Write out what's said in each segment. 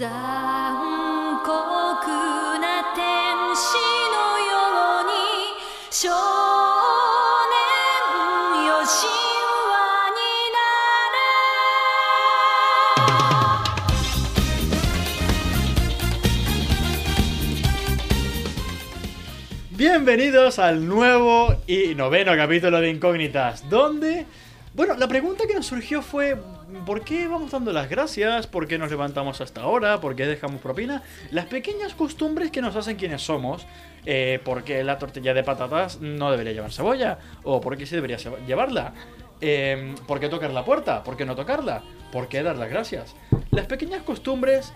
残酷な天使のように少年よ神話になれ Bienvenidos al nuevo y noveno capítulo de Incógnitas, donde, bueno, la pregunta que nos surgió fue, ¿por qué vamos dando las gracias? ¿Por qué nos levantamos hasta ahora? ¿Por qué dejamos propina? Las pequeñas costumbres que nos hacen quienes somos, eh, ¿por qué la tortilla de patatas no debería llevar cebolla? ¿O por qué sí debería ceba- llevarla? Eh, ¿Por qué tocar la puerta? ¿Por qué no tocarla? ¿Por qué dar las gracias? Las pequeñas costumbres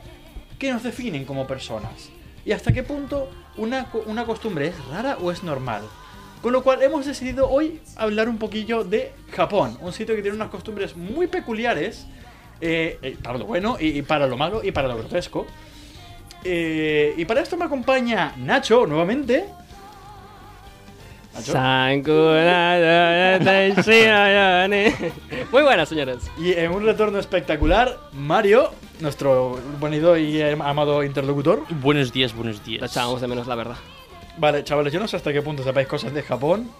que nos definen como personas y hasta qué punto una, co- una costumbre es rara o es normal. Con lo cual hemos decidido hoy hablar un poquillo de Japón, un sitio que tiene unas costumbres muy peculiares eh, eh, para lo bueno y, y para lo malo y para lo grotesco. Eh, y para esto me acompaña Nacho nuevamente. Nacho. Muy buenas, señores. Y en un retorno espectacular, Mario, nuestro bonito y eh, amado interlocutor. Buenos días, buenos días. Lo echábamos de menos, la verdad. Vale, chavales, yo no sé hasta qué punto sepáis cosas de Japón.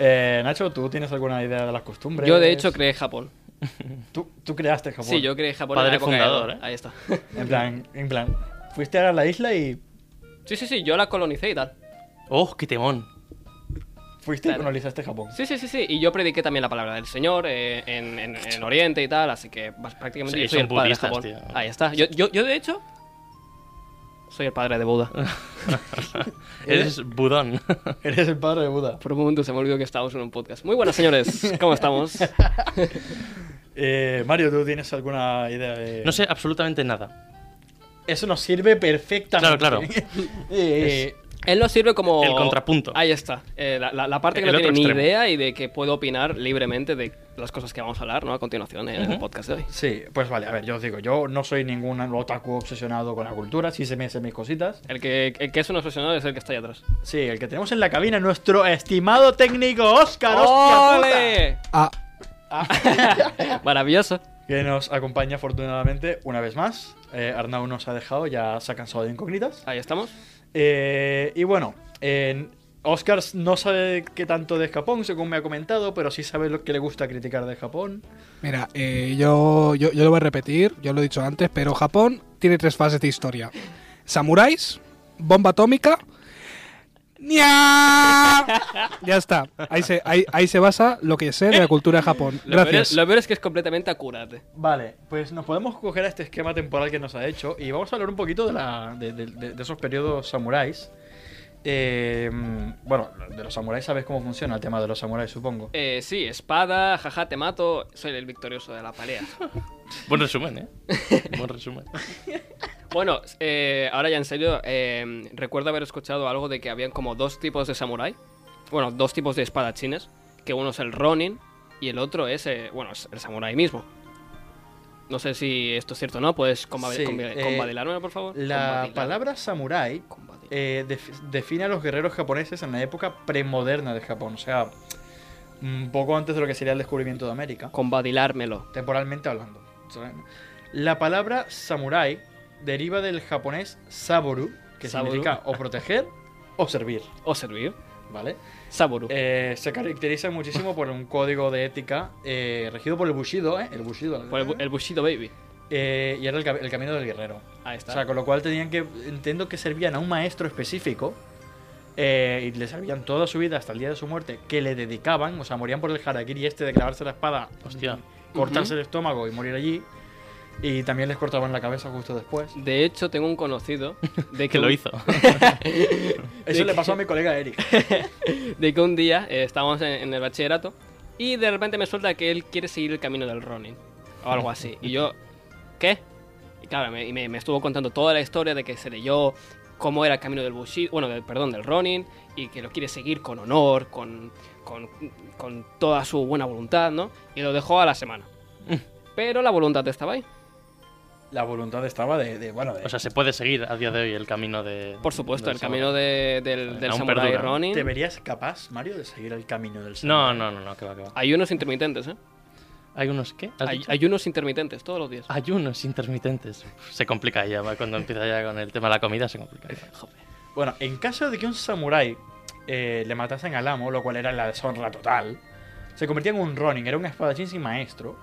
Eh, Nacho, ¿tú tienes alguna idea de las costumbres? Yo, de hecho, creé Japón. Tú, tú creaste Japón. Sí, yo creé Japón en Padre la época de fundador, Edo. ¿eh? Ahí está. En plan, en plan, fuiste a la isla y Sí, sí, sí, yo la colonicé y tal. Oh, qué temón. fuiste y Claro. colonizaste Japón. Sí, sí, sí, sí. Y yo prediqué también la palabra del Señor eh, en, en- en Oriente y tal, así que bas- prácticamente Sí, yo soy son el padre de budistas, Japón. tío. Ahí está. Yo, yo, yo, de hecho, soy el padre de Buda. Eh. Eres budón. Eres el padre de Buda. Por un momento se me olvidó que estábamos en un podcast. Muy buenas, señores. ¿Cómo estamos? Eh, Mario, ¿tú tienes alguna idea de...? No sé absolutamente nada. Eso nos sirve perfectamente. Claro, Eh, Él nos sirve como... El contrapunto. Ahí está. Eh, la, la- la parte que El no otro tiene ni extremo. idea y de que puedo opinar libremente de las cosas que vamos a hablar, ¿no? A continuación en el podcast de hoy. Sí, pues vale, a ver, yo os digo, yo no soy ningún otaku obsesionado con la cultura, sí se me hacen mis cositas. El que, el que es un obsesionado es el que está ahí atrás. Sí, el que tenemos en la cabina, nuestro estimado técnico Oscar. ¡Hostia puta! ¡Ole! Ah. Maravilloso. que nos acompaña afortunadamente una vez más. Eh, Arnau nos ha dejado, ya se ha cansado de incógnitas. Ahí estamos. Eh, y bueno, Oscar no sabe qué tanto de Japón, según me ha comentado, pero sí sabe lo que le gusta criticar de Japón. Mira, eh, yo, yo, yo lo voy a repetir, yo lo he dicho antes, pero Japón tiene tres fases de historia. Samuráis, bomba atómica... ¡Nya! Ya está, ahí se, ahí, ahí se basa lo que sé de la cultura de Japón. Lo peor, es, Gracias. lo peor es que es completamente acurate. Vale, pues nos podemos coger a este esquema temporal que nos ha hecho y vamos a hablar un poquito de, la- de- de- de- de esos periodos samuráis. Eh, bueno, de los samuráis sabes cómo funciona el tema de los samuráis, supongo. Eh, sí, espada, jaja, te mato. Soy el victorioso de la pelea. Buen resumen, ¿eh? Buen resumen. Bueno, eh, ahora ya en serio, eh, recuerdo haber escuchado algo de que habían como dos tipos de samurái. Bueno, dos tipos de espadachines. Que uno es el Ronin y el otro es, eh, bueno, es el samurái mismo. No sé si esto es cierto o no. ¿Puedes comba- Sí, combi- eh, combadilarme, por favor? La Combadilar- palabra samurái combadilar. eh, def- define a los guerreros japoneses en la época premoderna de Japón, o sea, un poco antes de lo que sería el descubrimiento de América, Combadilármelo. temporalmente hablando. La palabra samurái deriva del japonés saboru, que Saboru. significa o proteger o servir, O servir. ¿vale? Saburu. Eh, se caracteriza muchísimo por un código de ética eh, regido por el bushido, ¿eh? El bushido. Por el, bu- el Bushido Baby. Eh, y era el, cam- el camino del guerrero. Ahí está. O sea, con lo cual tenían que. Entiendo que servían a un maestro específico. eh, y le servían toda su vida hasta el día de su muerte. Que le dedicaban. O sea, morían por el harakiri este de clavarse la espada. Hostia. Cortarse el estómago y morir allí. Y también les cortaban la cabeza justo después. De hecho, tengo un conocido de que, Que lo un- hizo. Eso le pasó a mi colega Eric. de que un día eh, estábamos en, en el bachillerato y de repente me suelta que él quiere seguir el camino del Ronin o algo así. Y yo, ¿qué? Y claro, me, y me- me estuvo contando toda la historia de que se leyó cómo era el camino del Bushido, bueno, del- perdón, del Ronin y que lo quiere seguir con honor, con, con, con toda su buena voluntad, ¿no? Y lo dejó a la semana. Pero la voluntad estaba ahí. la voluntad estaba de, de, bueno, de- O sea, se puede seguir a día de hoy el camino de. Por supuesto, del el camino samurai. de- del, del Aún Samurai perdura. Ronin. ¿te verías capaz, Mario, de seguir el camino del No, no, no, no, que va, que va. Hay unos intermitentes, ¿eh? ¿Hay unos qué? ¿Has Hay, dicho? Ah. hay unos intermitentes todos los días. Ayunos intermitentes. Uf, Se complica ya, va, cuando empieza ya con el tema de la comida, se complica. Bueno, en caso de que un samurái eh, le matasen al amo, lo cual era la deshonra total, se convertía en un Ronin, era un espadachín sin maestro.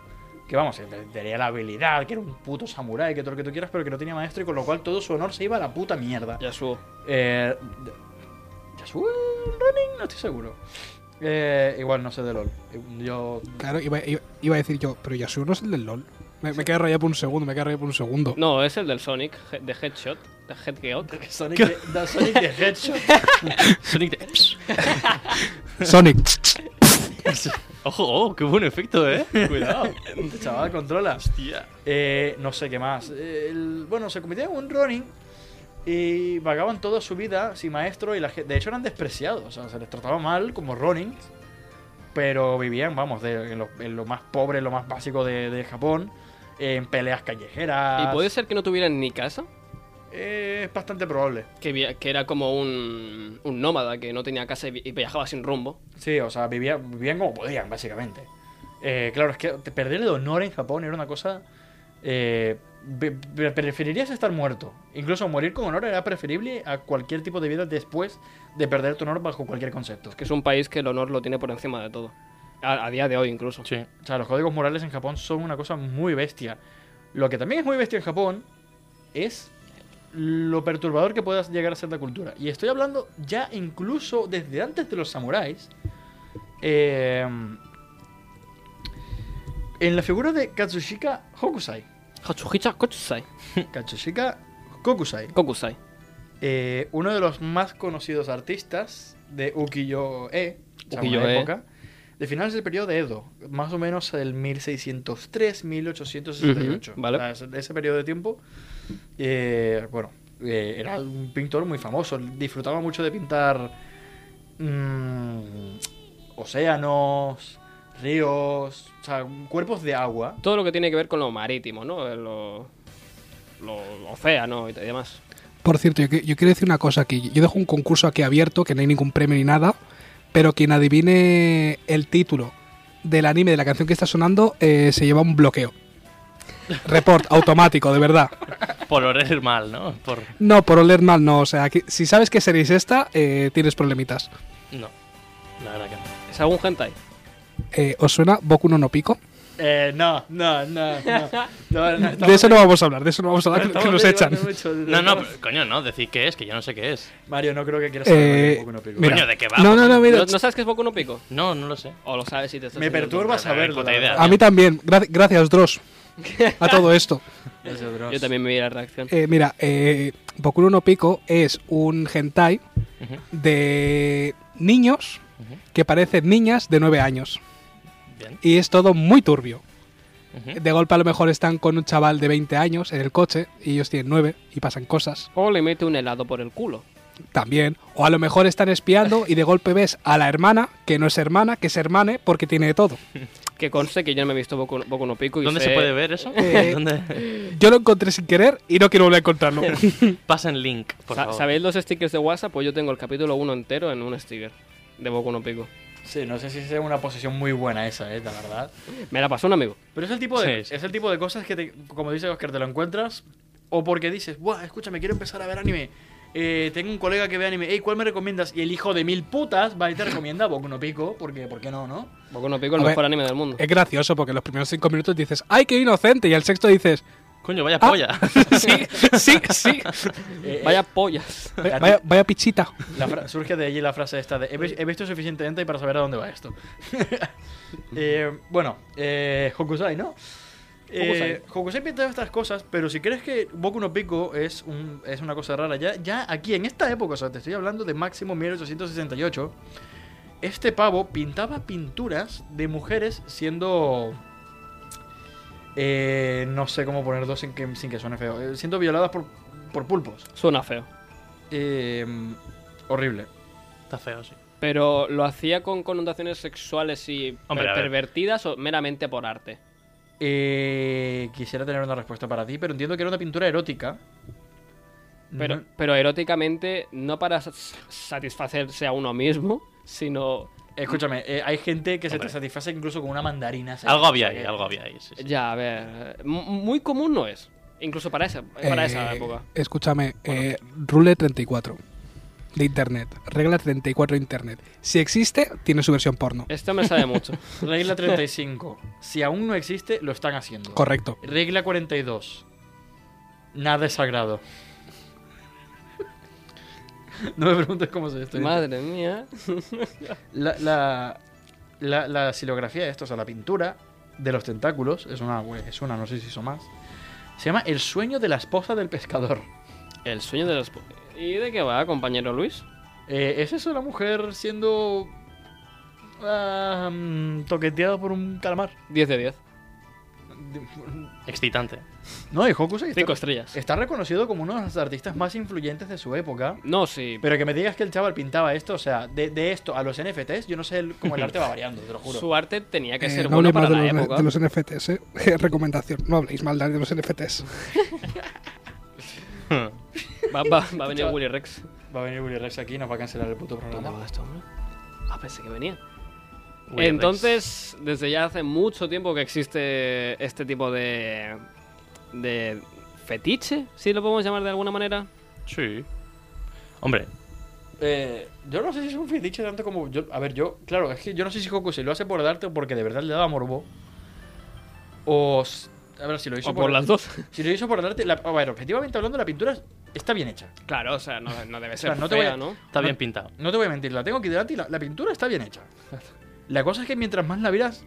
Que vamos, que tenía la habilidad, que era un puto samurái, que todo lo que tú quieras, pero que no tenía maestro y con lo cual todo su honor se iba a la puta mierda. Ya subo. Eh, de- ¿Yasuo era un Ronin? No estoy seguro. Eh, igual no sé de LOL. Eh, Yo. Claro, iba, iba- iba a decir yo, pero Yasuo no es el del LOL. Me, me quedé rayado por un segundo, me quedé rayado por un segundo. No, es el del Sonic, he- de Headshot, de Headgeot. Sonic de, de Sonic de Headshot. Sonic de- Sonic. Ojo, oh, qué buen efecto, eh. Cuidado. Este chaval controla. Hostia. Eh, no sé qué más. Eh, el- bueno, se convirtió en un Ronin y vagaban toda su vida sin maestro y la gente, de hecho eran despreciados, o sea, se les trataba mal como Ronin, pero vivían, vamos, de- en, lo, en lo más pobre, en lo más básico de, de Japón, en peleas callejeras. Y puede ser que no tuvieran ni casa, Eh, es bastante probable. que, via- que era como un, un nómada que no tenía casa y vi- y viajaba sin rumbo. Sí, o sea, vivía- vivían como podían, básicamente. Eh, claro, es que te- perder el honor en Japón era una cosa... eh, pe- pe- preferirías estar muerto. Incluso morir con honor era preferible a cualquier tipo de vida después de perder tu honor bajo cualquier concepto. Que es un país que el honor lo tiene por encima de todo. A, a día de hoy incluso. Sí. O sea, los códigos morales en Japón son una cosa muy bestia. Lo que también es muy bestia en Japón es lo perturbador que pueda llegar a ser la cultura. Y estoy hablando ya incluso desde antes de los samuráis. eh, en la figura de Katsushika Hokusai. Hatsuhicha Kokusai. Katsushika Hokusai. Kokusai. eh, uno de los más conocidos artistas de Ukiyo-e. o sea, una Ukiyo-e. época De finales del periodo de Edo, más o menos el 1603, 1868. Ujú, vale. O sea, ese, ese periodo de tiempo, eh, bueno, eh, era un pintor muy famoso. Disfrutaba mucho de pintar mm, océanos, ríos, o sea, cuerpos de agua. Todo lo que tiene que ver con lo marítimo, ¿no? Eh, Lo, lo, lo océano y demás. Por cierto, yo, que- yo quiero decir una cosa aquí. Yo dejo un concurso aquí abierto, que no hay ningún premio ni nada, pero quien adivine el título del anime de la canción que está sonando eh, se lleva un bloqueo. Report automático, de verdad. Por oler mal, ¿no? Por. No, por oler mal, no. O sea, aquí- si sabes que seréis esta, eh, tienes problemitas. No. La verdad que no. ¿Es algún hentai? Eh, ¿Os suena Boku no no Pico? Eh, no, no, no, no. No, no, De eso no vamos a hablar, de eso no vamos a hablar, que- estamos- que nos estamos echan. derivando mucho de- No, no, pero, coño, no, decir qué es, que yo no sé qué es. Mario, no creo que quieras saber Eh, Boku no Pico. mira. Coño, ¿de qué va? No, no, no, mira. ¿No, no sabes qué es Boku no Pico? No, no lo sé. ¿O lo sabes si te estás Me enseñando? perturba saberlo. puta la idea. verdad. A mí también. Gra- gracias, Dross. A todo esto. Yo también me vi la reacción. Eh, mira, eh, Boku no Pico es un hentai Ujú. de niños Ujú. que parecen niñas de 9 años. Bien. Y es todo muy turbio. Ujú. De golpe a lo mejor están con un chaval de 20 años en el coche y ellos tienen 9 y pasan cosas O le mete un helado por el culo. también. O a lo mejor están espiando y de golpe ves a la hermana, que no es hermana, que es hermane porque tiene de todo. Que conste que yo no me he visto Boku, Boku no Pico y ¿Dónde sé- se puede ver eso? Eh, ¿Dónde? Yo lo encontré sin querer y no quiero volver a encontrarlo. Pasen link, por Sa- favor. ¿Sabéis los stickers de WhatsApp? Pues yo tengo el capítulo 1 entero en un sticker de Boku no Pico. Sí, no sé si es una posición muy buena esa, eh, la verdad. Me la pasó un amigo. Pero es el tipo de, Sí, sí. es el tipo de cosas que, te- como dice Oscar, te lo encuentras o porque dices, ¡buah, escúchame, quiero empezar a ver anime! Eh, tengo un colega que ve anime, ¡ey, ¿cuál me recomiendas? Y el hijo de mil putas va y te recomienda Boku no Pico, porque ¿por qué no, no? Boku no Pico, el A ver. eh, mejor anime del mundo. Es gracioso porque los primeros cinco minutos dices, ¡ay, qué inocente! Y al sexto dices, Coño, vaya Ah. polla. sí, sí, sí. Eh, eh, Vaya pollas. Vaya, vaya pichita. la fra- surge de allí la frase esta de, he, vi- he visto suficientemente para saber a dónde va esto. Eh, bueno, eh, Hokusai, ¿no? Eh, Hokusai pintaba estas cosas, pero si crees que Boku no Pico es, un, es una cosa rara, ya, ya aquí en esta época, o sea, te estoy hablando de máximo 1868, este pavo pintaba pinturas de mujeres siendo... eh, no sé cómo ponerlo sin que, sin que suene feo, eh, siendo violadas por, por pulpos. Suena feo. Eh, horrible. Está feo, sí. Pero lo hacía con connotaciones sexuales y per- Hombre, a ver. pervertidas o meramente por arte. Eh, quisiera tener una respuesta para ti, pero entiendo que era una pintura erótica. Pero, No- pero eróticamente, no para sas- satisfacerse a uno mismo, sino. Escúchame, eh, hay gente que se Hombre. te satisface incluso con una mandarina. ¿sabes? Algo había O sea ahí, que- algo había ahí. sí, sí. Ya, a ver. eh, mu- Muy común no es. Incluso para esa, para esa Eh, época. Escúchame, eh, Rule 34 de Internet, regla 34 de Internet. Si existe, tiene su versión porno. Esto me sabe mucho. Regla 35. Si aún no existe, lo están haciendo. Correcto. Regla 42. Nada es sagrado. No me preguntes cómo se esto. Madre mía. La, la, la, la silografía de esto, o sea, la pintura de los tentáculos, es una, güey, es una, no sé si son más. Se llama El sueño de la esposa del pescador. El sueño de los. po- ¿Y de qué va, compañero Luis? Eh, ¿Es eso la mujer siendo ah, mm, toqueteada por un calamar? 10 de 10. eh, Excitante. No, y Hokusai Cinco está, estrellas. está reconocido como uno de los artistas más influyentes de su época. No, sí. Pero que me digas que el chaval pintaba esto, o sea, de, de esto a los NFTs, yo no sé el- cómo el arte va variando, te lo juro. Su arte tenía que Eh, ser no bueno habléis para más de la los, época. de los NFTs, ¿eh? Recomendación, no habléis mal de los NFTs. Va, va- va a venir Willy Rex. Va a venir Willy Rex aquí y nos va a cancelar el puto ¿Dónde programa. va esto, hombre? Ah, pensé que venía. Weird Entonces, desde ya hace mucho tiempo que existe este tipo de. de. fetiche, si lo podemos llamar de alguna manera. Ex. Sí. Hombre, Eh, yo no sé si es un fetiche tanto como. Yo, a ver, yo, claro, es que yo no sé si Hokusai lo hace por darte o porque de verdad le daba morbo. O. s- A ver, si lo hizo O por las dos. Si lo hizo por darte. La, a ver, objetivamente hablando, la pintura está bien hecha. Claro, o sea, no, no debe sea, ser no te fea, voy a- ¿no? está No- bien pintado. No te voy a mentir, la tengo aquí delante y la, la pintura está bien hecha. La cosa es que mientras más la miras.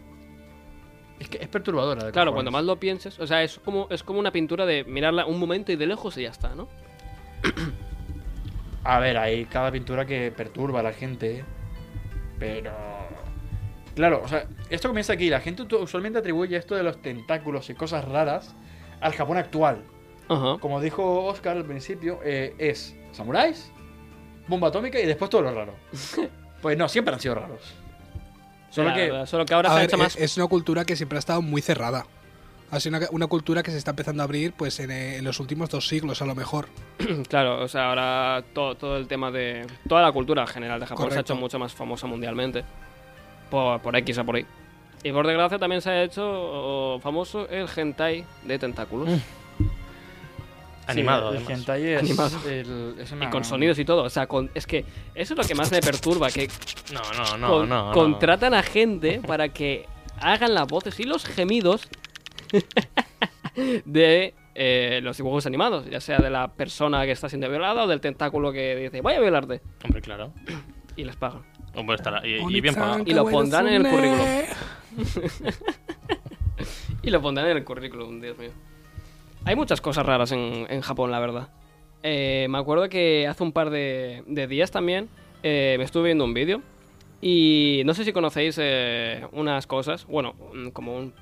Es que es perturbadora. de Claro, cojones. cuanto más lo pienses, o sea, es como, es como una pintura de mirarla un momento y de lejos y ya está, ¿no? A ver, hay cada pintura que perturba a la gente. ¿eh? Pero. Claro, o sea, esto comienza aquí. La gente utu- usualmente atribuye esto de los tentáculos y cosas raras al Japón actual. Ajá. Como dijo Oscar al principio, eh, es samuráis, bomba atómica y después todo lo raro. Pues no, siempre han sido raros. Solo La que. verdad, solo que ahora A se ha ver, eh, hecho más. Es una cultura que siempre ha estado muy cerrada. Ha sido una, una cultura que se está empezando a abrir pues en, eh, en los últimos dos siglos, a lo mejor. Claro, o sea, ahora todo, todo el tema de. Toda la cultura general de Japón se ha Correcto. hecho mucho más famosa mundialmente. Por, por X o por Y. Y por desgracia también se ha hecho o, famoso el hentai de tentáculos. Animado, Sí, el además. hentai es. Animado. el- es Y Ah, una- con sonidos y todo. O sea, con- es que eso es lo que más me perturba, que No, no, no, con- no, no. contratan a gente para que hagan las voces y los gemidos de eh, los dibujos animados, ya sea de la persona que está siendo violada o del tentáculo que dice, voy a violarte. Hombre, claro. Y les pagan. Hombre, estará. Y, y bien pagado. Y lo pondrán en el currículum. Y lo pondrán en el currículum, Dios mío. Hay muchas cosas raras en, en Japón, la verdad. Eh, me acuerdo que hace un par de, de días también eh, me estuve viendo un vídeo y no sé si conocéis eh, unas cosas, bueno, mm, como un...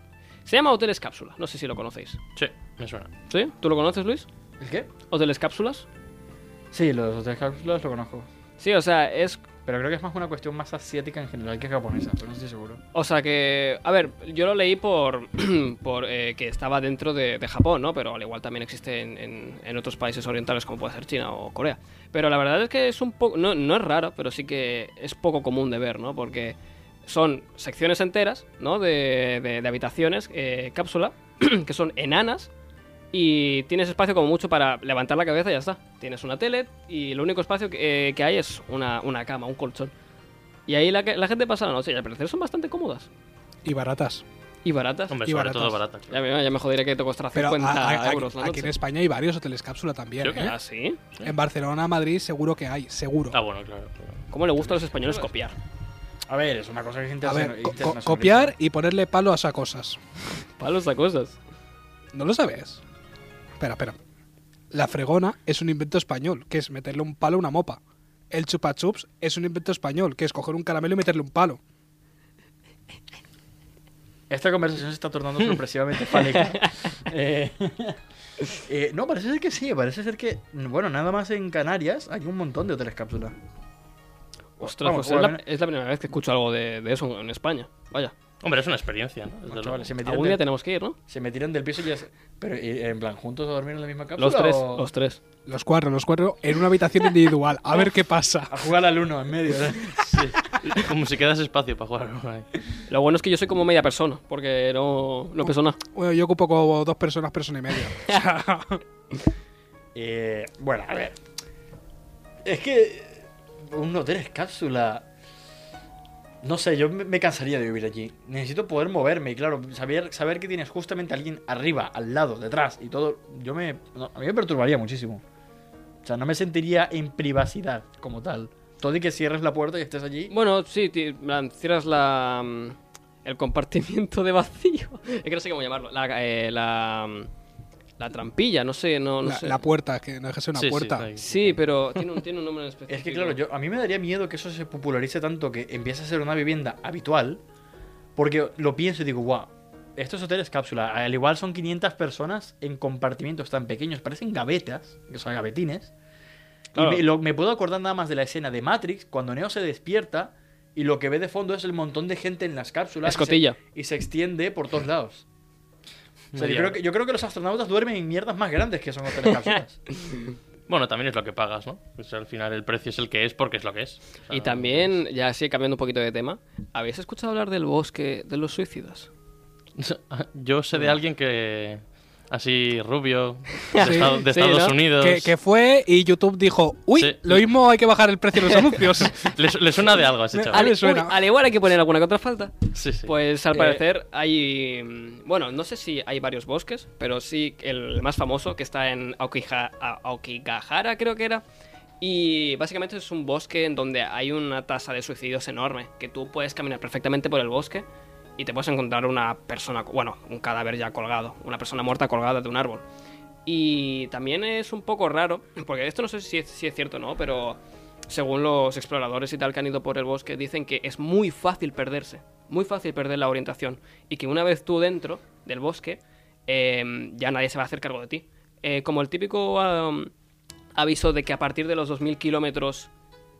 Se llama Hoteles Cápsula, no sé si lo conocéis. Sí, me suena. ¿Sí? ¿Tú lo conoces, Luis? ¿El qué? ¿Hoteles Cápsulas? Sí, los tres cápsulas lo conozco. Sí, o sea, es... Pero creo que es más una cuestión más asiática en general que japonesa, pero no estoy seguro. O sea que... A ver, yo lo leí por, por eh, que estaba dentro de, de Japón, ¿no? Pero al igual también existe en, en- en otros países orientales como puede ser China o Corea. Pero la verdad es que es un poco... No, no es raro, pero sí que es poco común de ver, ¿no? Porque son secciones enteras, ¿no? De, de- de habitaciones, eh, cápsula, que son enanas. Y tienes espacio como mucho para levantar la cabeza y ya está. Tienes una tele y el único espacio que, eh, que hay es una, una cama, un colchón. Y ahí la, que- la gente pasa la noche y al parecer son bastante cómodas. Y baratas. Y baratas. Hombre, Y sobre baratas. todo barata. Ya me, ya me jodería que te costara Pero 50 a- a- a- euros la aquí en noche. España hay varios hoteles cápsula también. Creo que ¿eh? ¿Ah, sí? En Barcelona, Madrid, seguro que hay, seguro. Ah, bueno, claro. claro. ¿Cómo le gusta a los españoles copiar? A ver, es una cosa que gente A ver, co- co- copiar y ponerle palo a esas cosas. Palos a cosas. ¿No lo sabes? Espera, espera. La fregona es un invento español, que es meterle un palo a una mopa. El chupachups es un invento español, que es coger un caramelo y meterle un palo. Esta conversación se está tornando sorpresivamente fálica. Eh, eh, no, parece ser que sí, parece ser que, bueno, nada más en Canarias hay un montón de hoteles cápsula. Ostras, Vamos, pues es la, igualmente. es la primera vez que escucho algo de, de eso en España. Vaya. Hombre, es una experiencia, ¿no? Desde Bueno, luego. chavales, se me tiran Algún día del, tenemos que ir, ¿no? se me tiran del piso y ya se- Pero, ¿y en plan, ¿juntos a dormir en la misma cápsula? Los tres, o los tres. Los cuatro, los cuatro, en una habitación individual. A ver qué pasa. A jugar al uno en medio. ¿eh? Como si quedas espacio para jugar. ¿no? Ahí. Lo bueno es que yo soy como media persona, porque no, Uh. no peso nada. Bueno, yo ocupo como dos personas, persona y media. Eh, bueno, a ver. Es que. Uno tres cápsula. No sé, yo me me cansaría de vivir allí. Necesito poder moverme y, claro, saber, saber que tienes justamente a alguien arriba, al lado, detrás y todo. Yo me. no, a mí me perturbaría muchísimo. O sea, no me sentiría en privacidad como tal. Todo y que cierres la puerta y estés allí. Bueno, sí, ti- en plan, cierras la, mm, el compartimiento de vacío. Es que no sé cómo llamarlo. La, eh, la, mm, la trampilla, no sé, no, no La, sé. la puerta, que no deja de ser una Sí, sí, puerta. ahí. Sí, pero tiene un, tiene un nombre en específico. Es que, claro, yo, a mí me daría miedo que eso se popularice tanto que empiece a ser una vivienda habitual. Porque lo pienso y digo, guau, estos hoteles cápsula, al igual son 500 personas en compartimientos tan pequeños, parecen gavetas, que son gavetines. Claro. Y me, lo- me puedo acordar nada más de la escena de Matrix, cuando Neo se despierta y lo que ve de fondo es el montón de gente en las cápsulas. y se- Escotilla. Y se, extiende por todos lados. O sea, yo, Media creo hora. que, yo creo que los astronautas duermen en mierdas más grandes que son hoteles cápsulas. Bueno, también es lo que pagas, ¿no? Pues al final el precio es el que es porque es lo que es. O sea, Y también, pues. ya así cambiando un poquito de tema, ¿habéis escuchado hablar del bosque de los suicidas? Yo sé de alguien que. Así, rubio, de, Sí, Estado- de sí, Estados ¿no? Unidos. Que, que fue y YouTube dijo, uy, Sí. lo mismo hay que bajar el precio de los anuncios. Le, su- le suena de algo a ese A chaval. mí me suena. uy, al igual hay que poner alguna que otra falta. Sí, sí. Pues al Eh, parecer hay. mm, Bueno, no sé si hay varios bosques, pero sí el más famoso que está en Aokija- A- Aokigahara, creo que era. Y básicamente es un bosque en donde hay una tasa de suicidios enorme, que tú puedes caminar perfectamente por el bosque y te puedes encontrar una persona, bueno, un cadáver ya colgado, una persona muerta colgada de un árbol. Y también es un poco raro, porque esto no sé si es, si es cierto o no, pero según los exploradores y tal que han ido por el bosque, dicen que es muy fácil perderse, muy fácil perder la orientación. Y que una vez tú dentro del bosque, eh, ya nadie se va a hacer cargo de ti. Eh, como el típico um, aviso de que a partir de los 2.000 kilómetros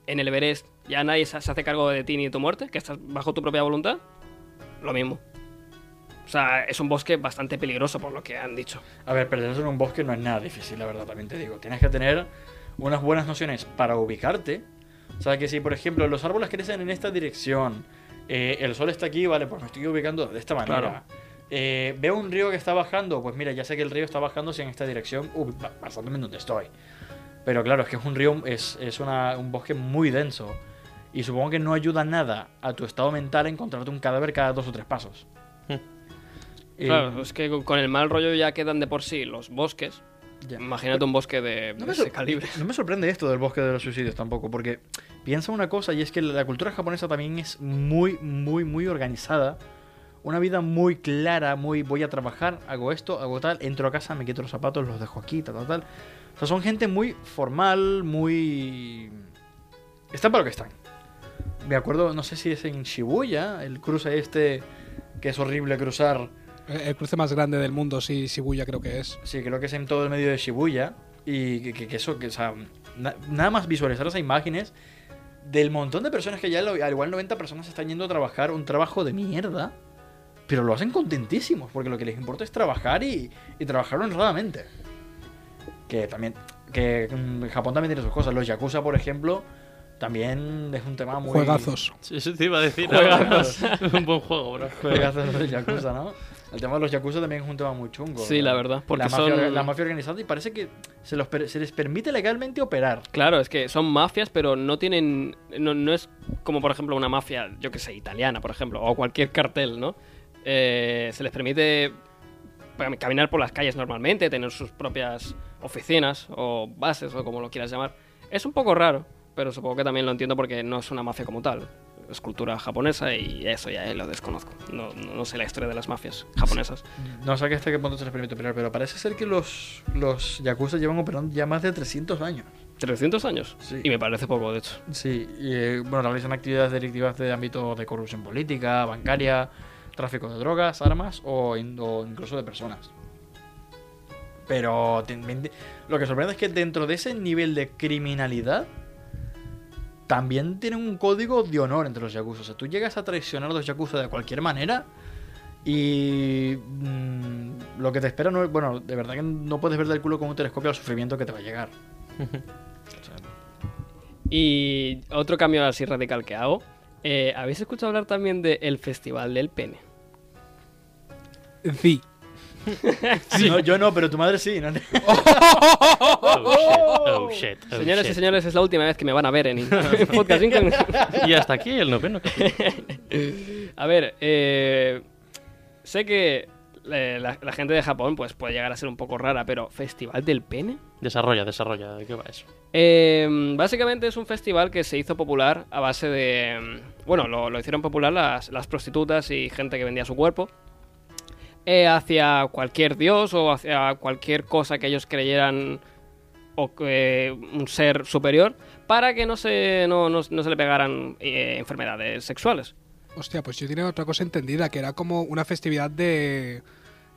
en el Everest ya nadie se se hace cargo de ti ni de tu muerte, que estás bajo tu propia voluntad, lo mismo. O sea, es un bosque bastante peligroso por lo que han dicho. A ver, perderse en un bosque no es nada difícil, la verdad, también te digo. Tienes que tener unas buenas nociones para ubicarte. O sea, que si, por ejemplo, los árboles crecen en esta dirección, eh, el sol está aquí, vale, pues me estoy ubicando de esta manera. Claro. Eh, veo un río que está bajando, pues mira, ya sé que el río está bajando si en esta dirección, uy, pa- basándome en donde estoy. Pero claro, es que es un río, es, es una- un bosque muy denso. Y supongo que no ayuda nada a tu estado mental a encontrarte un cadáver cada dos o tres pasos. Eh, Hmm. Claro, es que con- con el mal rollo ya quedan de por sí los bosques. ya. Imagínate un bosque de No me, ese sor- calibre. no me sorprende esto del bosque de los suicidios tampoco, porque piensa una cosa y es que la cultura japonesa también es muy, muy, muy organizada. Una vida muy clara, muy voy a trabajar, hago esto, hago tal, entro a casa, me quito los zapatos, los dejo aquí, tal, tal, tal. O sea, son gente muy formal, muy... Están para lo que están. Me acuerdo, no sé si es en Shibuya, el cruce este, que es horrible cruzar. El el cruce más grande del mundo, sí, Shibuya creo que es. Sí, creo que es en todo el medio de Shibuya. Y que, que- que eso, que, o sea, na- nada más visualizar esas imágenes del montón de personas que ya, lo- al igual 90 personas están yendo a trabajar un trabajo de mierda, pero lo hacen contentísimos, porque lo que les importa es trabajar y, y trabajar honradamente. Que también, que mm, Japón también tiene sus cosas. Los Yakuza, por ejemplo, también es un tema muy... Juegazos. Sí, Eso te iba a decir. Juegazos. Un buen juego, bro. Juegazos de los Yakuza, ¿no? El tema de los Yakuza también es un tema muy chungo. Sí, la verdad, porque la, mafia, son- la mafia organizada y parece que se, los per- se les permite legalmente operar. Claro, es que son mafias, pero no tienen. No, no es como, por ejemplo, una mafia, yo que sé, italiana, por ejemplo, o cualquier cartel, ¿no? Eh, se les permite pa- caminar por las calles normalmente, tener sus propias oficinas o bases o como lo quieras llamar. Es un poco raro, pero supongo que también lo entiendo porque no es una mafia como tal. Es cultura japonesa y eso ya lo desconozco. No, no- no sé la historia de las mafias japonesas. No sé hasta qué punto se les permite operar, pero parece ser que los, los Yakuza llevan operando ya más de 300 años. 300 años. Sí. Y me parece poco, de hecho. Sí, y, eh, bueno, realizan actividades delictivas de ámbito de corrupción política, bancaria, tráfico de drogas, armas o, in- o incluso de personas. Pero ten- men- lo que sorprende es que dentro de ese nivel de criminalidad también tienen un código de honor entre los yakuza. O sea, tú llegas a traicionar a los yakuza de cualquier manera y mm, lo que te espera no es... Bueno, de verdad que no puedes ver del culo con un telescopio el sufrimiento que te va a llegar. O sea, Y otro cambio así radical que hago. eh, ¿Habéis escuchado hablar también del Festival del Pene? Sí. no, yo no, pero tu madre sí. ¿no? Oh, shit, oh, shit, oh, Señoras y shit. señores, es la última vez que me van a ver en en Podcast Incon. Y hasta aquí el noveno capítulo. A ver, eh, sé que eh, la, la gente de Japón pues puede llegar a ser un poco rara, pero ¿Festival del Pene? Desarrolla, desarrolla. ¿De qué va eso? Eh, básicamente es un festival que se hizo popular a base de... mm, Bueno, lo, lo hicieron popular las, las prostitutas y gente que vendía su cuerpo. eh, hacia cualquier dios o hacia cualquier cosa que ellos creyeran o, que, eh, un ser superior para que no se, no, no- no se le pegaran eh, enfermedades sexuales. Hostia, pues yo tenía otra cosa entendida, que era como una festividad de...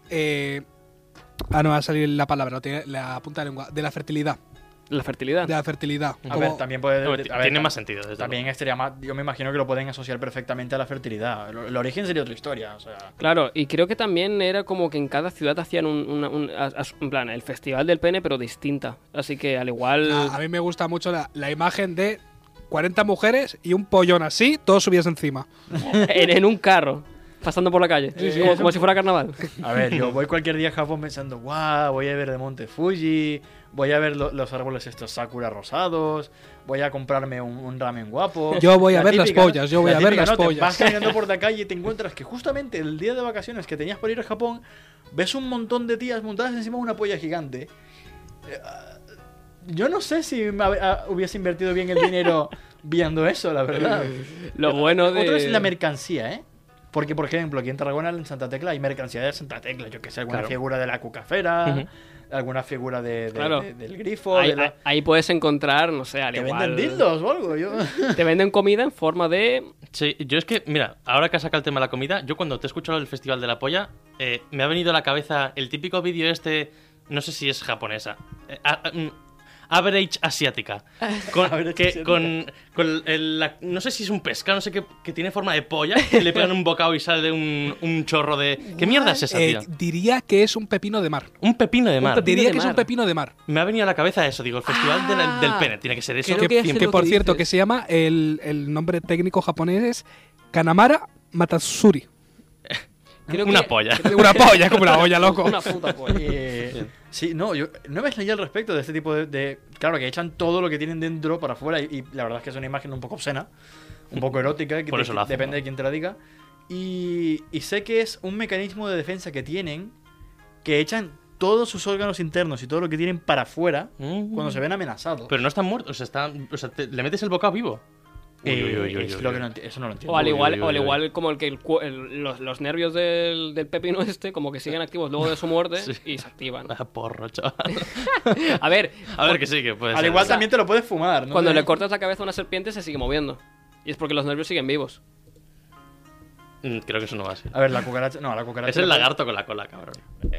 eh, ah, no va a salir la palabra, no tiene la punta de lengua. De la fertilidad. La fertilidad. De la fertilidad. A ver, Como- también puede... a No, ti- ver, tiene tam- más sentido, desde También estaría más, yo me imagino que lo pueden asociar perfectamente a la fertilidad. El, el origen sería otra historia. O sea, Claro, y creo que también era como que en cada ciudad hacían un, una- un- as- as- en plan el festival del pene, pero distinta. Así que al igual... Ah, a mí me gusta mucho la, la imagen de 40 mujeres y un pollón así, todos subidas encima. en, en un carro, pasando por la calle, como, como si fuera carnaval. a ver, yo voy cualquier día a Japón pensando, guau, voy a ver el monte Fuji, voy a ver lo- los árboles estos sakura rosados, voy a comprarme un, un ramen guapo. Yo voy a ver las ¿no? pollas, yo voy La a ver típica, las ¿no? Te pollas. vas caminando por la calle y te encuentras que justamente el día de vacaciones que tenías para ir a Japón, ves un montón de tías montadas encima de una polla gigante. Eh, ah, Yo no sé si me hab- ah, hubiese invertido bien el dinero viendo eso, la verdad. Lo bueno de... Otro es la mercancía, ¿eh? Porque, por ejemplo, aquí en Tarragona, en Santa Tecla, hay mercancía de Santa Tecla. Yo que sé, alguna Claro. figura de la cucafera, alguna figura de, de- Claro. de- del grifo, ahí, de la- ahí- ahí puedes encontrar, no sé, al que igual... venden dildos o algo. Yo... Te venden comida en forma de. Sí, yo es que, mira, ahora que has sacado el tema de la comida, yo cuando te he escuchado el Festival de la Polla, eh, me ha venido a la cabeza el típico vídeo este, no sé si es japonesa, eh, a- a- mm, Average asiática. Con, Average que- asiática. con- con el- la- no sé si es un pescado, no sé qué, que tiene forma de polla, que le pegan un bocado y sale un, un chorro de... ¿Qué mierda es esa, Eh, tío? diría que es un pepino de mar. Un pepino de mar. pepino Diría de que es un mar. pepino de mar. Me ha venido a la cabeza eso, digo, el Festival de la- Ah. del Pene, tiene que ser eso. Creo que, que ya sé que, lo por que cierto, dices. que se llama, el, el nombre técnico japonés es Kanamara Matatsuri. creo Una que- polla. Una polla, como una olla, loco. Una pues. puta polla. Eh, sí, no, yo no me leído al respecto de este tipo de, de- Claro, que echan todo lo que tienen dentro para afuera y, y la verdad es que es una imagen un poco obscena, un poco erótica, que Por te- eso lo hacen, depende ¿no? de quién te la diga. Y, y sé que es un mecanismo de defensa que tienen, que echan todos sus órganos internos y todo lo que tienen para afuera Mm. cuando se ven amenazados. Pero no están muertos, están, o sea, te- le metes el bocado vivo. Eh, Uy, uy, uy, uy, es uy, lo uy. que no enti- eso no lo entiendo. O al igual, Uy, uy, o al uy, igual como el que el cu- el- los, los nervios del, del pepino este, como que siguen activos luego de su muerte Sí. y se activan. Ah, porro, chaval. A ver, A ver que sí, que puede Al ser. igual también te lo puedes fumar, ¿no? cuando le cortas la cabeza a una serpiente se sigue moviendo. Y es porque los nervios siguen vivos. Mm, Creo que eso no va así. A ver, la cucaracha. No, a la cucaracha. Es el le puedes- lagarto con la cola, cabrón.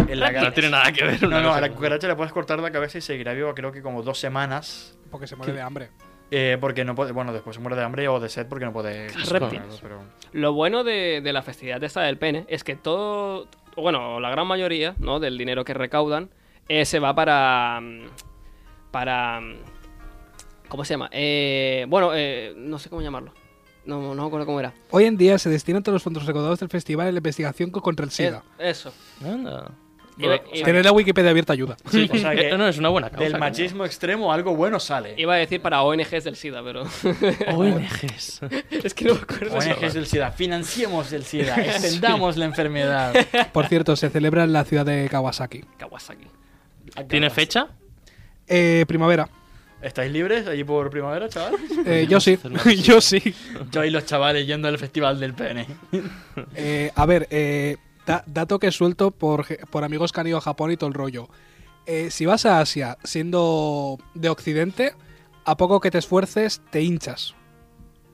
El No lagarto. tiene nada que ver. No, una no, cosa a la con- cucaracha le puedes cortar la cabeza y seguirá viva, creo que como dos semanas. Porque se muere de hambre. Eh, porque no puede, bueno, después se muere de hambre o de sed porque no puede. Reptiles. Pero- Lo bueno de, de la festividad de esta del pene es que todo, bueno, la gran mayoría ¿no? del dinero que recaudan eh, se va para... mm, para... mm, ¿Cómo se llama? Eh, bueno, eh, no sé cómo llamarlo. No, no me acuerdo cómo era. Hoy en día se destinan todos los fondos recaudados del festival en la investigación contra el SIDA. Eh, eso. Anda. Iba, iba- Tener la Wikipedia abierta ayuda. o sea que Eh, no, es una buena causa. del coño. machismo extremo algo bueno sale. iba a decir para ONGs del SIDA, pero ONGs. es que no me acuerdo. ONGs del SIDA, financiemos el SIDA, extendamos la enfermedad. Por cierto, se celebra en la ciudad de Kawasaki. Kawasaki. ¿Tiene fecha? Eh, primavera. ¿Estáis libres allí por primavera, chaval? Eh, yo sí, yo sí. Yo y los chavales yendo al festival del pene. Eh, a ver, eh, da- dato que suelto por, ge- por amigos que han ido a Japón y todo el rollo. Eh, si vas a Asia siendo de Occidente, a poco que te esfuerces, te hinchas.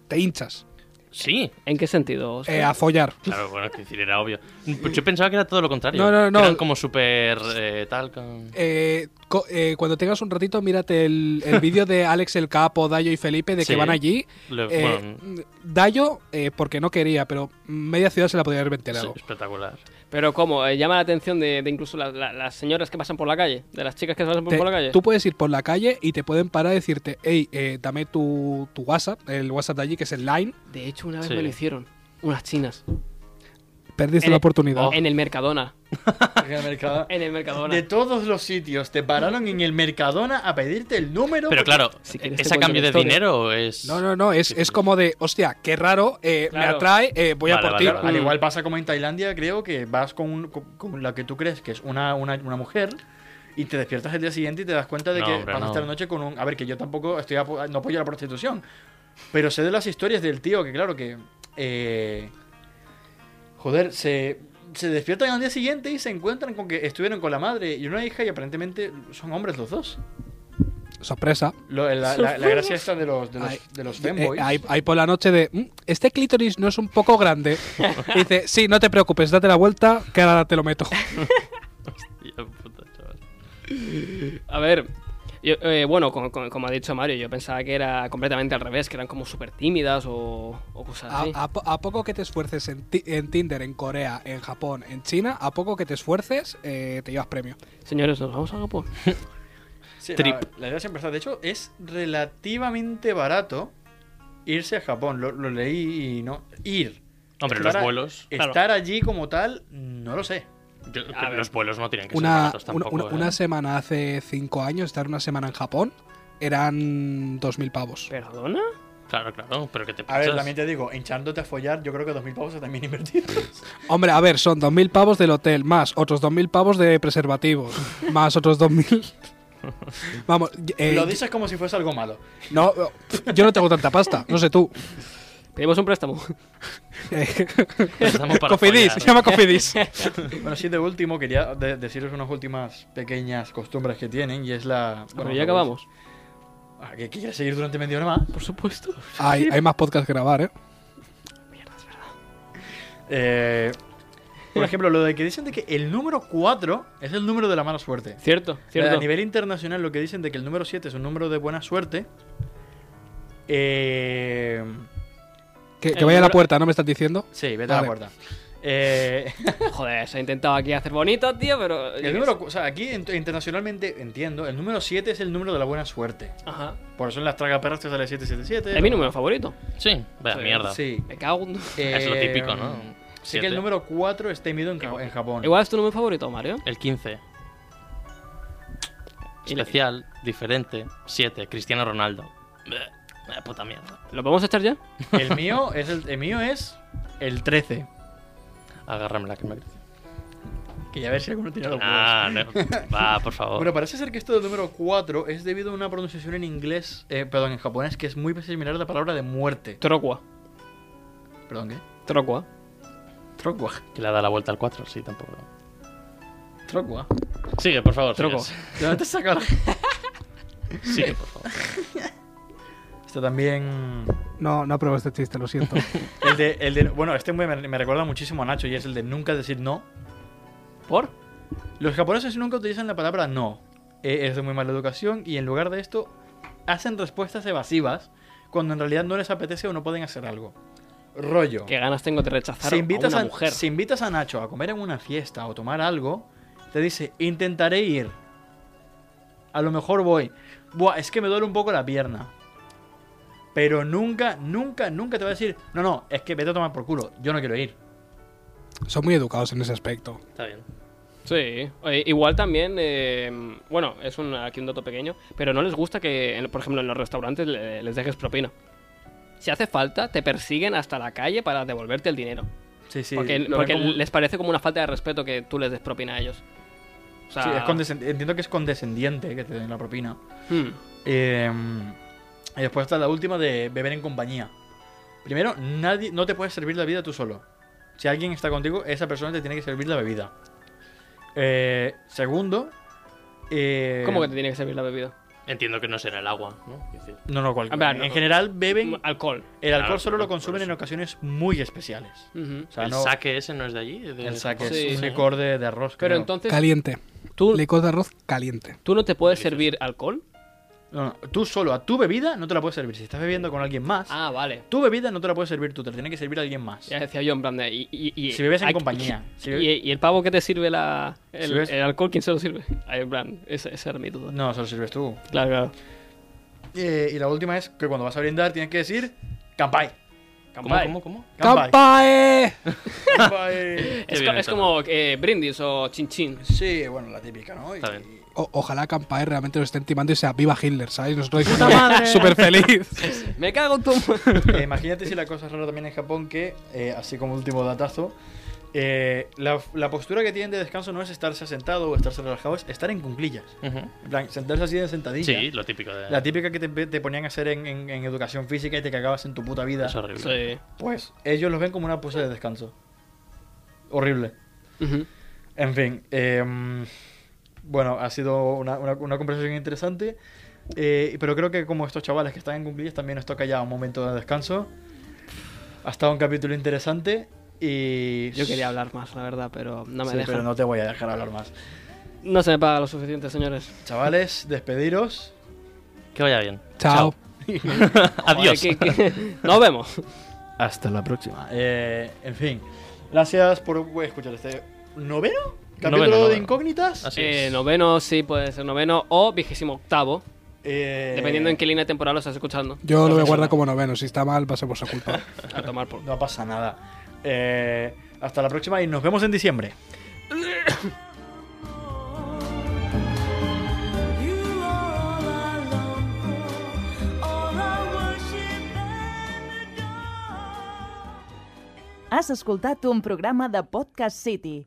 Te hinchas. Sí, ¿En qué sentido? Eh, a follar. claro, bueno, que decir, era obvio. Pues yo pensaba que era todo lo contrario. No, no, no. Que Eran como súper eh, tal. con- Eh, co- eh, cuando tengas un ratito, mírate el, el vídeo de Alex el Capo, Dayo y Felipe de que Sí. van allí. Lo- Eh, bueno, Dayo, eh, porque no quería, pero media ciudad se la podía haber sí, ventilado. espectacular. Pero ¿cómo? Eh, llama la atención de, de incluso la- la- las señoras que pasan por la calle, de las chicas que pasan por, Te- por la calle. tú puedes ir por la calle y te pueden parar y decirte, hey, eh, dame tu, tu WhatsApp, el WhatsApp de allí que es el Line. De hecho, una vez Sí. me lo hicieron. Unas chinas. Perdiste En la el- oportunidad. En el Mercadona. En el Mercadona. En el Mercadona. De todos los sitios, te pararon en el Mercadona a pedirte el número. Pero claro, Si quieres te ¿es a cuento la cambio de historia. dinero o es.? No, no, no, es, es como de, hostia, qué raro, eh, me Claro. atrae, eh, voy a Vale, por vale, ti. vale. Al Mm. igual pasa como en Tailandia, creo que vas con, un- con- con la que tú crees que es una, una, una mujer y te despiertas el día siguiente y te das cuenta de No, que hombre, pasaste no. la noche con un... A ver, que yo tampoco estoy apo- no apoyo la prostitución, pero sé de las historias del tío que, claro, que... eh, joder, se, se despiertan al día siguiente y se encuentran con que estuvieron con la madre y una hija y aparentemente son hombres los dos. Sorpresa. Lo- la, la- la gracia esta de los, de Ay, los, de los eh, femboys. ahí- ahí por la noche de, "Mm, este clítoris no es un poco grande. Y dice, sí, no te preocupes, date la vuelta, que ahora te lo meto. Hostia puta, chaval. A ver, yo, eh, bueno, co- co- como, ha dicho Mario, yo pensaba que era completamente al revés, que eran como súper tímidas o, o cosas Ah, A, así. a po- a poco que te esfuerces en, ti- en Tinder, en Corea, en Japón, en China, a poco que te esfuerces, eh, te llevas premio. Señores, nos vamos a Japón. Sí, Trip. La, la idea siempre está. De hecho, es relativamente barato irse a Japón. Lo, lo leí y no. Ir. Hombre, Estar los a- vuelos. claro. Estar allí como tal, no lo sé. yo- a ver. los vuelos no tienen que ser Una, baratos una- tampoco. una- ¿eh? una semana hace cinco años, estar una semana en Japón, eran 2.000 pavos. ¿Perdona? ¿eh? Claro, claro, pero que te A ver, pinchas. también te digo, hinchándote a follar, yo creo que 2.000 pavos están bien invertidos. Hombre, a ver, son 2.000 pavos del hotel, más otros 2.000 pavos de preservativos, más otros 2.000... Vamos, eh, lo dices como si fuese algo malo. no, yo no tengo tanta pasta, no sé tú. Pedimos un préstamo. Eh, Estamos para Cofidis, follar. se llama Cofidis. Bueno, sí, de último, quería de- deciros unas últimas pequeñas costumbres que tienen y es la. Bueno, Bueno, ya lo veis. acabamos. Ah, ¿Que que quieres seguir durante media hora más? Por supuesto. hay, hay más podcast que grabar, ¿eh? Eh, por ejemplo, lo de que dicen de que el número 4 es el número de la mala suerte. Cierto, A cierto. nivel internacional, lo que dicen de que el número 7 es un número de buena suerte. Eh, Que, Eh, que El vaya a la número- puerta, ¿no me estás diciendo? sí, vete a Vale. la puerta. Eh, Joder, se ha intentado aquí hacer bonito, tío, pero. el número, cu- o sea, aquí ent- internacionalmente entiendo, el número 7 es el número de la buena suerte. Ajá. Por eso en las tragaperras te sale 777. Es mi número favorito. Sí, vaya Sí, mierda. Sí. Me cago en... Es lo Eh, típico, ¿no? Sé que el Siete. número 4 está emitido en, Ca- en Japón. Igual es tu número favorito, Mario. El 15. Y le- Especial, diferente. 7. Cristiano Ronaldo. Bleh, Vaya puta mierda. ¿Lo podemos echar ya? El mío es el, el mío es el 13. Agárrame la que me crece. Que ya ver si alguno tiene los huevos. Ah, no. Va, por favor. Bueno, parece ser que esto del número 4 es debido a una pronunciación en inglés, eh, perdón, en japonés, que es muy similar a la palabra de muerte. Trocua. Perdón, ¿qué? Trocua. Trocua. Que le da la vuelta al 4, sí, tampoco. Trocua. Sigue, por favor. Troco. sigues. ¿De dónde te saca la- Sigue, por favor. Este también. No, no apruebo este chiste, lo siento. El de, el de- bueno, este me, me recuerda muchísimo a Nacho y es el de nunca decir no. ¿Por? Los japoneses nunca utilizan la palabra no. Eh, es de muy mala educación y en lugar de esto hacen respuestas evasivas cuando en realidad no les apetece o no pueden hacer algo. Rollo. ¿Qué ganas tengo de rechazar Si invitas a una a, mujer? si invitas a Nacho a comer en una fiesta o tomar algo, te dice, intentaré ir. A lo mejor voy. Buah, es que me duele un poco la pierna. Pero nunca, nunca, nunca te va a decir, no, no, es que vete a tomar por culo, yo no quiero ir. Son muy educados en ese aspecto. Está bien. Sí, eh, igual también, eh, bueno, es un, aquí un dato pequeño, pero no les gusta que, en- por ejemplo, en los restaurantes le- les dejes propina. Si hace falta, te persiguen hasta la calle para devolverte el dinero. Sí, sí. porque porque les parece como una falta de respeto que tú les des propina a ellos. O sea, entiendo que es condescendiente que te den la propina. hmm, Eh, y después está la última de beber en compañía. Primero, nadie, no te puedes servir la vida tú solo. Si alguien está contigo, esa persona te tiene que servir la bebida. Eh, segundo, eh, ¿Cómo que te tiene que servir la bebida? Entiendo que no será el agua, ¿no? Quiero decir, No, no, cualquier. A ver, Ah, no- ah, en general beben. Alcohol. El alcohol Claro, solo lo por consumen en eso. ocasiones muy especiales. Ujú. O sea, el no- saque ese no es de allí. de- el saque es Sí. un licor de, de arroz. Pero creo. entonces, Caliente. ¿tú, Licor de arroz caliente. ¿tú no te puedes servir alcohol? No, no, tú solo a tu bebida no te la puedes servir. Si estás bebiendo con alguien más, Ah, vale. tu bebida no te la puedes servir tú, te la tiene que servir alguien más. Ya decía yo, en plan de... Y, y- y- Si bebes en aquí- compañía. Si bebes- y, y el pavo que te sirve la, Si el, bebes- el alcohol, ¿quién se lo sirve? Ahí, en plan, esa, esa era mi duda. No, solo sirves tú. Claro, claro. Eh, y la última es que cuando vas a brindar tienes que decir Kampai. ¿Cómo, Kampai. cómo, cómo? Kampai. ¡Campae! Kampai. Es, bien co- es entonado. como eh, brindis o chin chin. Sí, bueno, la típica, ¿no? Y- Está bien. O- ojalá Campae realmente lo estén timando y sea viva Hitler, ¿sabes? Nosotros ¡Puta madre! súper feliz. Me cago en tu... Eh, imagínate si la cosa es rara también en Japón que, eh, así como último datazo, eh, la, la postura que tienen de descanso no es estarse sentado o estarse relajado, es estar en cunclillas. Ujú. En plan, sentarse así de sentadilla. Sí, lo típico de. La típica que te, te ponían a hacer en, en- en educación física y te cagabas en tu puta vida. Es horrible. Sí. Pues ellos los ven como una pose de descanso. Horrible. Ujú. En fin, em, bueno, ha sido una, una- una conversación interesante. eh, pero creo que como estos chavales que están en cumpleaños también nos toca ya un momento de descanso. Ha estado un capítulo interesante y... Yo quería hablar más, la verdad, pero no me Sí, dejan. pero no te voy a dejar hablar más. no... se me paga lo suficiente, señores. Chavales, despediros. Que vaya bien. Chao. Adiós. Joder, que- que- Nos vemos. Hasta la próxima. Eh, en fin, gracias por escuchar este noveno capítulo Noveno, de noveno. Incógnitas. Así Eh, es. noveno, sí, puede ser noveno o vigésimo octavo, Eh, dependiendo en qué línea temporal lo estás escuchando. Yo lo voy a guardar Profesor. como noveno. Si está mal, va a ser por su culpa. A tomar por. No pasa nada. Eh, hasta la próxima y nos vemos en diciembre. You are all I long for, all I worship and adore. Has escoltat un programa de Podcast City,